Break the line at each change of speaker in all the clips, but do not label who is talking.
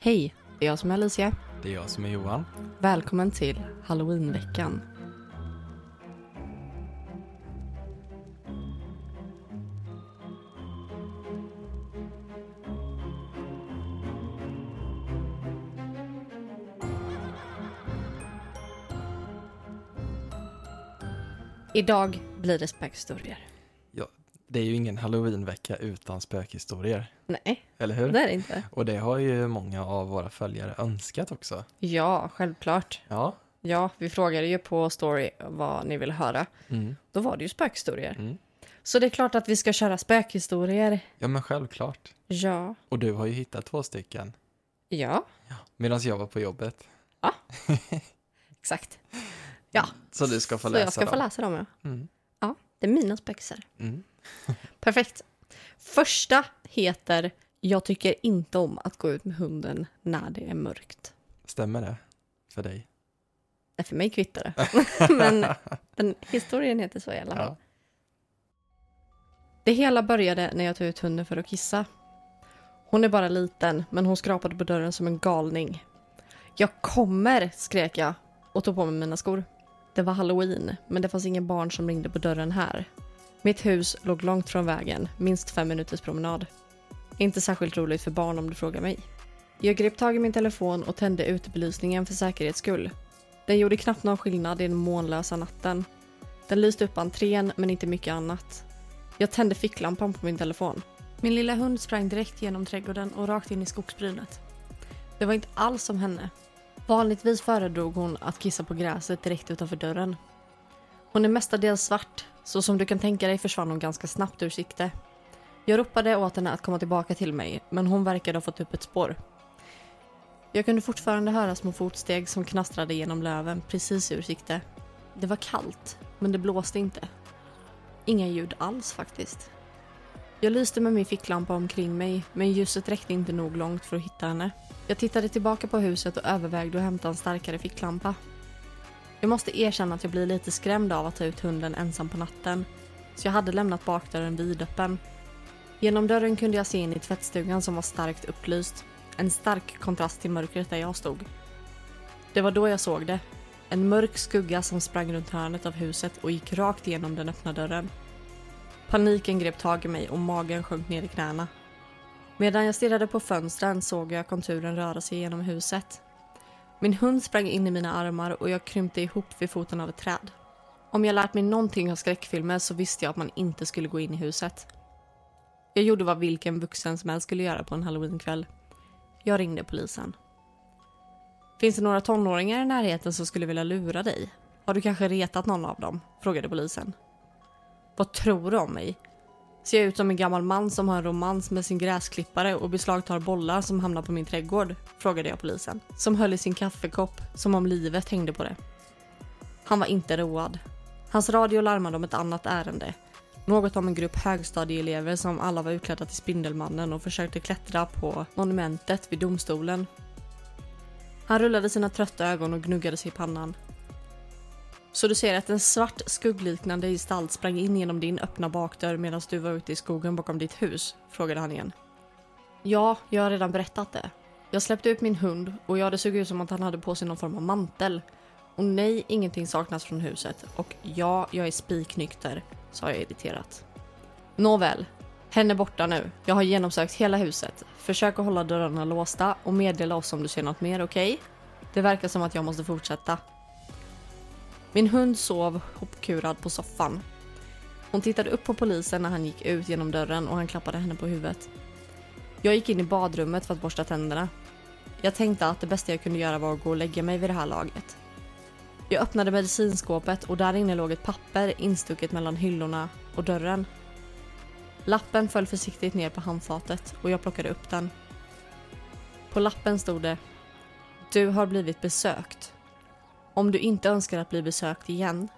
Hej, det är jag som är Alicia.
Det är jag som är Johan.
Välkommen till Halloweenveckan. Idag blir det spökhistorier.
Det är ju ingen halloweenvecka utan spökhistorier,
Nej,
eller hur?
det är det inte.
Och det har ju många av våra följare önskat också.
Ja, självklart.
Ja.
Ja, vi frågade ju på story vad ni ville höra.
Mm.
Då var det ju spökhistorier.
Mm.
Så det är klart att vi ska köra spökhistorier.
Ja, men självklart.
Ja.
Och du har ju hittat två stycken
Ja,
medan jag var på jobbet.
exakt.
Så du ska få
Så
Mm. läsa
jag ska
dem.
få läsa dem, ja.
Mm.
Ja, det är mina spökhistorier.
Mm.
Perfekt. Första heter Jag tycker inte om att gå ut med hunden när det är mörkt.
Stämmer det för dig?
Nej, för mig kvittar det. Men den historien heter så i alla fall.
Ja.
Det hela började när jag tog ut hunden för att kissa. Hon är bara liten, men hon skrapade på dörren som en galning. Jag kommer, skrek jag och tog på mig mina skor. Det var halloween, men det fanns ingen barn som ringde på dörren här. Mitt hus låg långt från vägen, minst fem minuters promenad. Inte särskilt roligt för barn om du frågar mig. Jag grep tag i min telefon och tände utebelysningen för säkerhets skull. Den gjorde knappt någon skillnad i den månlösa natten. Den lyste upp entrén, men inte mycket annat. Jag tände ficklampan på min telefon. Min lilla hund sprang direkt genom trädgården och rakt in i skogsbrynet. Det var inte alls som henne. Vanligtvis föredrog hon att kissa på gräset direkt utanför dörren. Hon är mestadels svart, så som du kan tänka dig försvann hon ganska snabbt ur sikte. Jag ropade åt henne att komma tillbaka till mig, men hon verkade ha fått upp ett spår. Jag kunde fortfarande höra små fotsteg som knastrade genom löven precis ur sikte. Det var kallt, men det blåste inte. Inga ljud alls faktiskt. Jag lyste med min ficklampa omkring mig, men ljuset räckte inte nog långt för att hitta henne. Jag tittade tillbaka på huset och övervägde att hämta en starkare ficklampa. Jag måste erkänna att jag blir lite skrämd av att ta ut hunden ensam på natten, så jag hade lämnat bakdörren vidöppen. Genom dörren kunde jag se in i tvättstugan som var starkt upplyst. En stark kontrast till mörkret där jag stod. Det var då jag såg det. En mörk skugga som sprang runt hörnet av huset och gick rakt igenom den öppna dörren. Paniken grep tag i mig och magen sjönk ner i knäna. Medan jag stirrade på fönstren såg jag konturen röra sig genom huset. Min hund sprang in i mina armar och jag krympte ihop vid foten av ett träd. Om jag lärt mig någonting av skräckfilmer så visste jag att man inte skulle gå in i huset. Jag gjorde vad vilken vuxen som helst skulle göra på en halloweenkväll. Jag ringde polisen. Finns det några tonåringar i närheten som skulle vilja lura dig? Har du kanske retat någon av dem? Frågade polisen. Vad tror du om mig? Ser jag ut som en gammal man som har en romans med sin gräsklippare och beslagtar bollar som hamnar på min trädgård? Frågade jag polisen, som höll i sin kaffekopp som om livet hängde på det. Han var inte road. Hans radio larmade om ett annat ärende. Något om en grupp högstadieelever som alla var utklädda till Spindelmannen och försökte klättra på monumentet vid domstolen. Han rullade sina trötta ögon och gnuggade sig i pannan. Så du ser att en svart skuggliknande gestalt sprang in genom din öppna bakdörr medan du var ute i skogen bakom ditt hus? Frågade han igen. Ja, jag har redan berättat det. Jag släppte ut min hund och ja, det såg ut som att han hade på sig någon form av mantel. Och nej, ingenting saknas från huset. Och ja, jag är spiknykter, sa jag irriterat. Nåväl, hen är borta nu. Jag har genomsökt hela huset. Försök att hålla dörrarna låsta och meddela oss om du ser något mer, okej? Det verkar som att jag måste fortsätta. Min hund sov hopkurad på soffan. Hon tittade upp på polisen när han gick ut genom dörren och han klappade henne på huvudet. Jag gick in i badrummet för att borsta tänderna. Jag tänkte att det bästa jag kunde göra var att gå och lägga mig vid det här laget. Jag öppnade medicinskåpet och där inne låg ett papper instucket mellan hyllorna och dörren. Lappen föll försiktigt ner på handfatet och jag plockade upp den. På lappen stod det Du har blivit besökt. Om du inte önskar att bli besökt igen,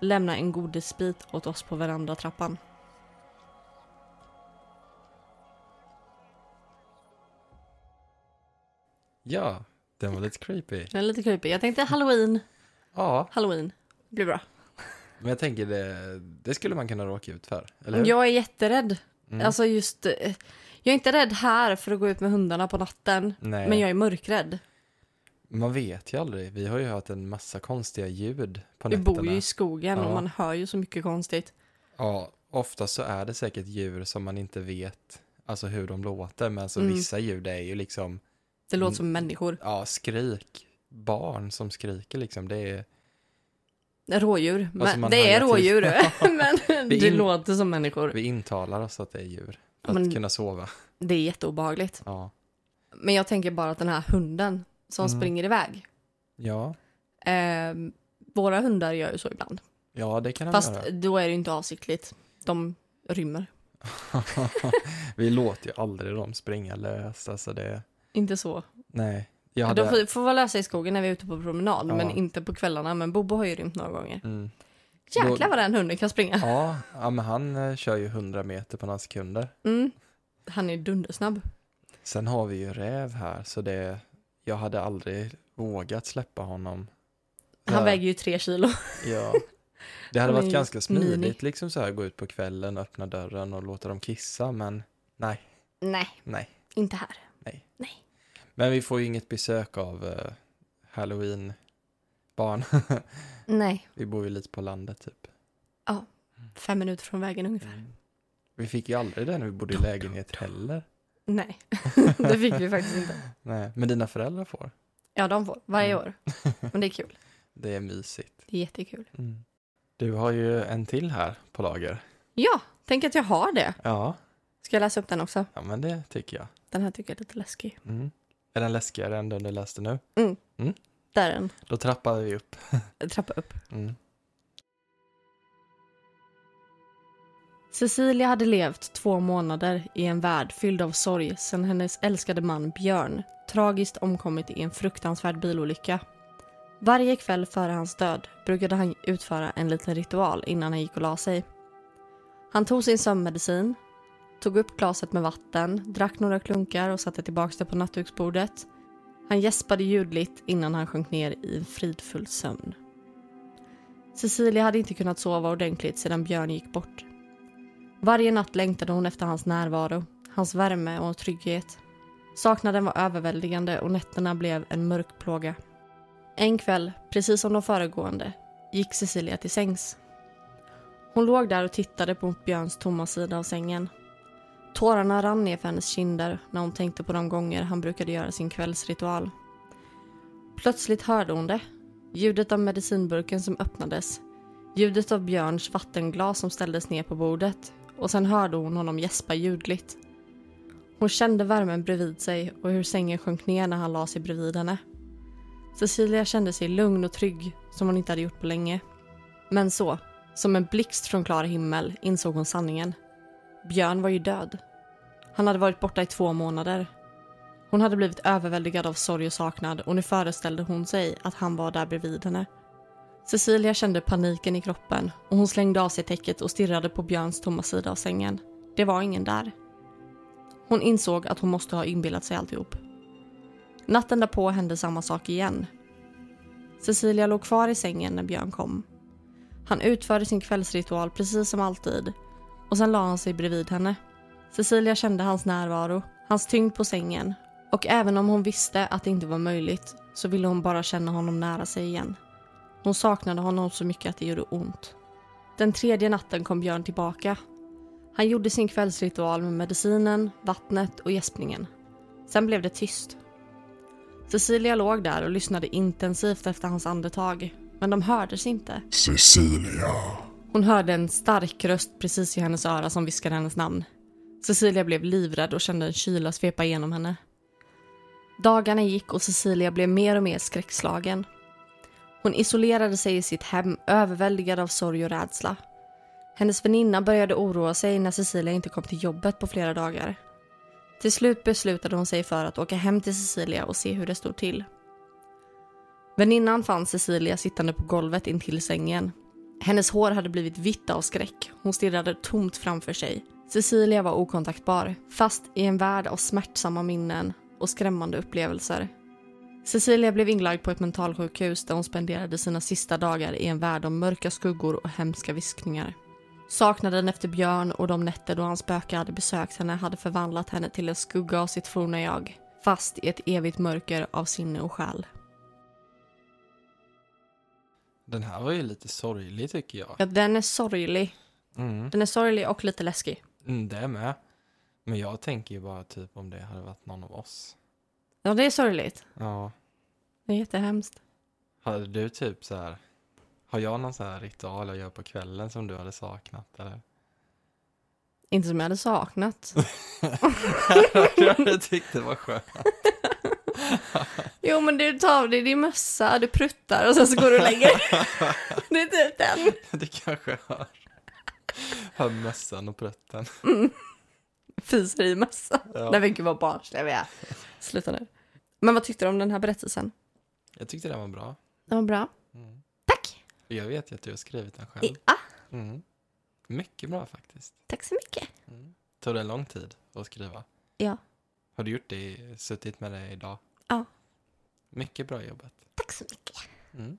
lämna en godisbit åt oss på verandatrappan.
ja, den var lite creepy.
Den är lite creepy. Jag tänkte halloween,
Ja,
halloween. Det blir bra.
men jag
Mm,
tänker det, det skulle man kunna råka ut för, eller hur?
Jag är jätterädd.
Mm.
Alltså just, eh, Jag är inte rädd här för att gå ut med hundarna på natten.
Nej.
Men jag är mörkrädd.
Man vet ju aldrig. Vi har ju hört en massa konstiga ljud på
Vi
nätterna.
bor ju i skogen och
Ja.
man hör ju så mycket konstigt.
Ja, ofta så är det säkert djur som man inte vet alltså hur de låter. Men alltså
Mm.
vissa ljud är ju liksom,
Det låter som människor.
ja, skrik. Barn som skriker liksom. Det är,
Rådjur. Men
Alltså, man
det är
hajar till.
rådjur. men
Vi
det
in-
låter som människor.
vi intalar oss att det är djur. För
Men-
att kunna sova.
Det är jätteobehagligt.
Ja.
Men jag tänker bara att den här hunden som
Mm.
springer iväg.
Ja,
Eh, våra hundar gör ju så ibland.
ja det kan han
Fast
göra.
då är det ju inte avsiktligt. De rymmer.
Vi låter ju aldrig dem springa lös. Alltså det,
Inte så.
nej. Jag
De
hade,
får, får vara lösa i skogen när vi är ute på promenad.
Ja.
Men inte på kvällarna. Men Bobo har ju rymt några gånger.
mm.
Jäklar vad den hunden kan springa.
ja, ja, men han eh, kör ju 100 meter på några sekunder.
Mm. Han är dundersnabb.
Sen har vi ju räv här, så det, jag hade aldrig vågat släppa honom.
Han
Ja.
väger ju tre kilo.
Ja. Det hade
Han är
varit
ju
ganska smidigt
mini.
liksom så här gå ut på kvällen och öppna dörren och låta dem kissa, men nej,
Nej,
nej.
inte här.
Men vi får ju inget besök av eh, halloween-barn.
Nej.
vi bor ju lite på landet typ.
Fem minuter från vägen ungefär.
Vi fick ju aldrig det när vi bodde i lägenhet heller.
Nej, det fick vi faktiskt inte.
Nej, men dina föräldrar får.
Ja, de får. Varje
Mm.
år. Men det är kul.
Det är mysigt.
Det är jättekul.
Du har ju en till här på lager.
Ja, tänk att jag har det.
Ja,
Ska jag läsa upp den också?
ja men det tycker jag.
Den här tycker jag är lite läskig.
Mm. Är den läskigare än den du läste nu?
Där är den.
Då trappar vi upp.
Trappa upp.
Mm.
Cecilia hade levt två månader i en värld fylld av sorg sedan hennes älskade man Björn tragiskt omkommit i en fruktansvärd bilolycka. Varje kväll före hans död brukade han utföra en liten ritual innan han gick och la sig. Han tog sin sömnmedicin, tog upp glaset med vatten, drack några klunkar och satte tillbaka det på nattduksbordet. Han gäspade ljudligt innan han sjönk ner i en fridfull sömn. Cecilia hade inte kunnat sova ordentligt sedan Björn gick bort. Varje natt längtade hon efter hans närvaro, hans värme och trygghet. Saknaden var överväldigande och nätterna blev en mörk plåga. En kväll, precis som de föregående, gick Cecilia till sängs. Hon låg där och tittade på Björns tomma sida av sängen. Tårarna rann ner för hennes kinder när hon tänkte på de gånger han brukade göra sin kvällsritual. Plötsligt hörde hon det. Ljudet av medicinburken som öppnades. Ljudet av Björns vattenglas som ställdes ner på bordet och sen hörde hon honom gäspa ljudligt. Hon kände värmen bredvid sig och hur sängen sjönk ner när han la sig bredvid henne. Cecilia kände sig lugn och trygg som hon inte hade gjort på länge. Men så, som en blixt från klar himmel, insåg hon sanningen. Björn var ju död. Han hade varit borta i två månader. Hon hade blivit överväldigad av sorg och saknad och nu föreställde hon sig att han var där bredvid henne. Cecilia kände paniken i kroppen och hon slängde av sig täcket och stirrade på Björns tomma sida av sängen. Det var ingen där. Hon insåg att hon måste ha inbillat sig alltihop. Natten därpå hände samma sak igen. Cecilia låg kvar i sängen när Björn kom. Han utförde sin kvällsritual precis som alltid och sen la han sig bredvid henne. Cecilia kände hans närvaro, hans tyngd på sängen och även om hon visste att det inte var möjligt så ville hon bara känna honom nära sig igen. Hon saknade honom så mycket att det gjorde ont. Den tredje natten kom Björn tillbaka. Han gjorde sin kvällsritual med medicinen, vattnet och gäspningen. Sen blev det tyst. Cecilia låg där och lyssnade intensivt efter hans andetag, men de hördes inte.
Cecilia.
Hon hörde en stark röst precis i hennes öra som viskade hennes namn. Cecilia blev livrädd och kände en kyla svepa igenom henne. Dagarna gick och Cecilia blev mer och mer skräckslagen. Hon isolerade sig i sitt hem, överväldigad av sorg och rädsla. Hennes väninna började oroa sig när Cecilia inte kom till jobbet på flera dagar. Till slut beslutade hon sig för att åka hem till Cecilia och se hur det stod till. Väninnan fann Cecilia sittande på golvet intill sängen. Hennes hår hade blivit vitt av skräck. Hon stirrade tomt framför sig. Cecilia var okontaktbar, fast i en värld av smärtsamma minnen och skrämmande upplevelser. Cecilia blev inlagd på ett mentalsjukhus där hon spenderade sina sista dagar i en värld av mörka skuggor och hemska viskningar. Saknaden efter Björn och de nätter då hans spöke hade besökt henne hade förvandlat henne till en skugga av sitt forna jag, fast i ett evigt mörker av sinne och själ.
Den här var ju lite sorglig tycker jag.
Ja, den är sorglig.
Mm.
Den är sorglig och lite läskig.
Mm, det är med. Men jag tänker ju bara typ om det hade varit någon av oss.
Ja, det är sorgligt.
Ja.
Det är jättehemskt.
Hade du typ så här, har jag någon så här ritual jag gör på kvällen som du hade saknat eller?
Inte som jag hade saknat.
jag tyckte det var skönt.
Jo, men du tar av dig din mössa, du pruttar och sen så går du och lägger dig. Det är typ den.
Du kanske hör, hör mössan och prutten.
Fiser i mössan.
Ja.
Nej men gud vad barnsliga vi är. Sluta nu. Men vad tyckte du om den här berättelsen?
Jag tyckte den var bra.
Den var bra.
Mm.
Tack!
Jag vet ju att du har skrivit den själv.
Ja,
Mm. Mycket bra faktiskt.
tack så mycket.
Mm. Tog det lång tid att skriva?
Ja.
Har du gjort det, suttit med det idag?
Ja.
Mycket bra jobbat.
Tack så mycket.
Mm.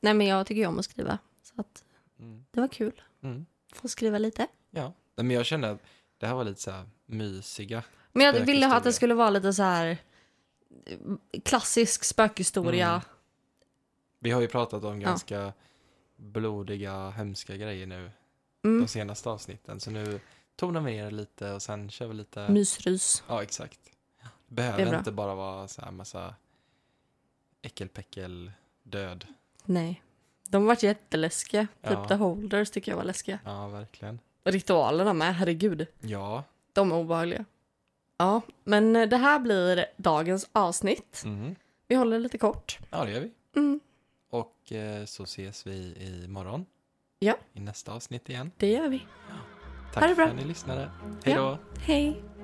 Nej men jag tycker ju om att skriva. Så att
Mm.
det var kul.
Mm.
Få skriva lite.
Ja, Nej, men jag kände att det här var lite så här mysiga.
Men jag ville ha att det
Spökhistoria.
skulle vara lite så här eh, klassisk spökhistoria.
Mm. Vi har ju pratat om
Ja.
ganska blodiga, hemska grejer nu
Mm.
de senaste avsnitten. Så nu tonar vi ner det lite och sen kör vi
Mm.
lite.
Mysrys.
Ja, exakt. Det
Det är
behöver
bra.
inte bara vara så här massa äckelpäckel död.
Nej. De har varit jätteläskiga. Typ
Ja.
The Holders tycker jag var läskiga.
Ja, verkligen.
Ritualerna med, herregud.
Ja.
De är obehagliga. Ja, men eh, det här blir dagens avsnitt.
Mm.
Vi håller det lite kort.
Ja, det gör vi.
Mm,
Och eh, så ses vi i morgon.
Ja.
I nästa avsnitt igen.
det gör vi.
Tack
Ha det
för
bra.
att ni lyssnade. Hej
Ja.
då.
Hej!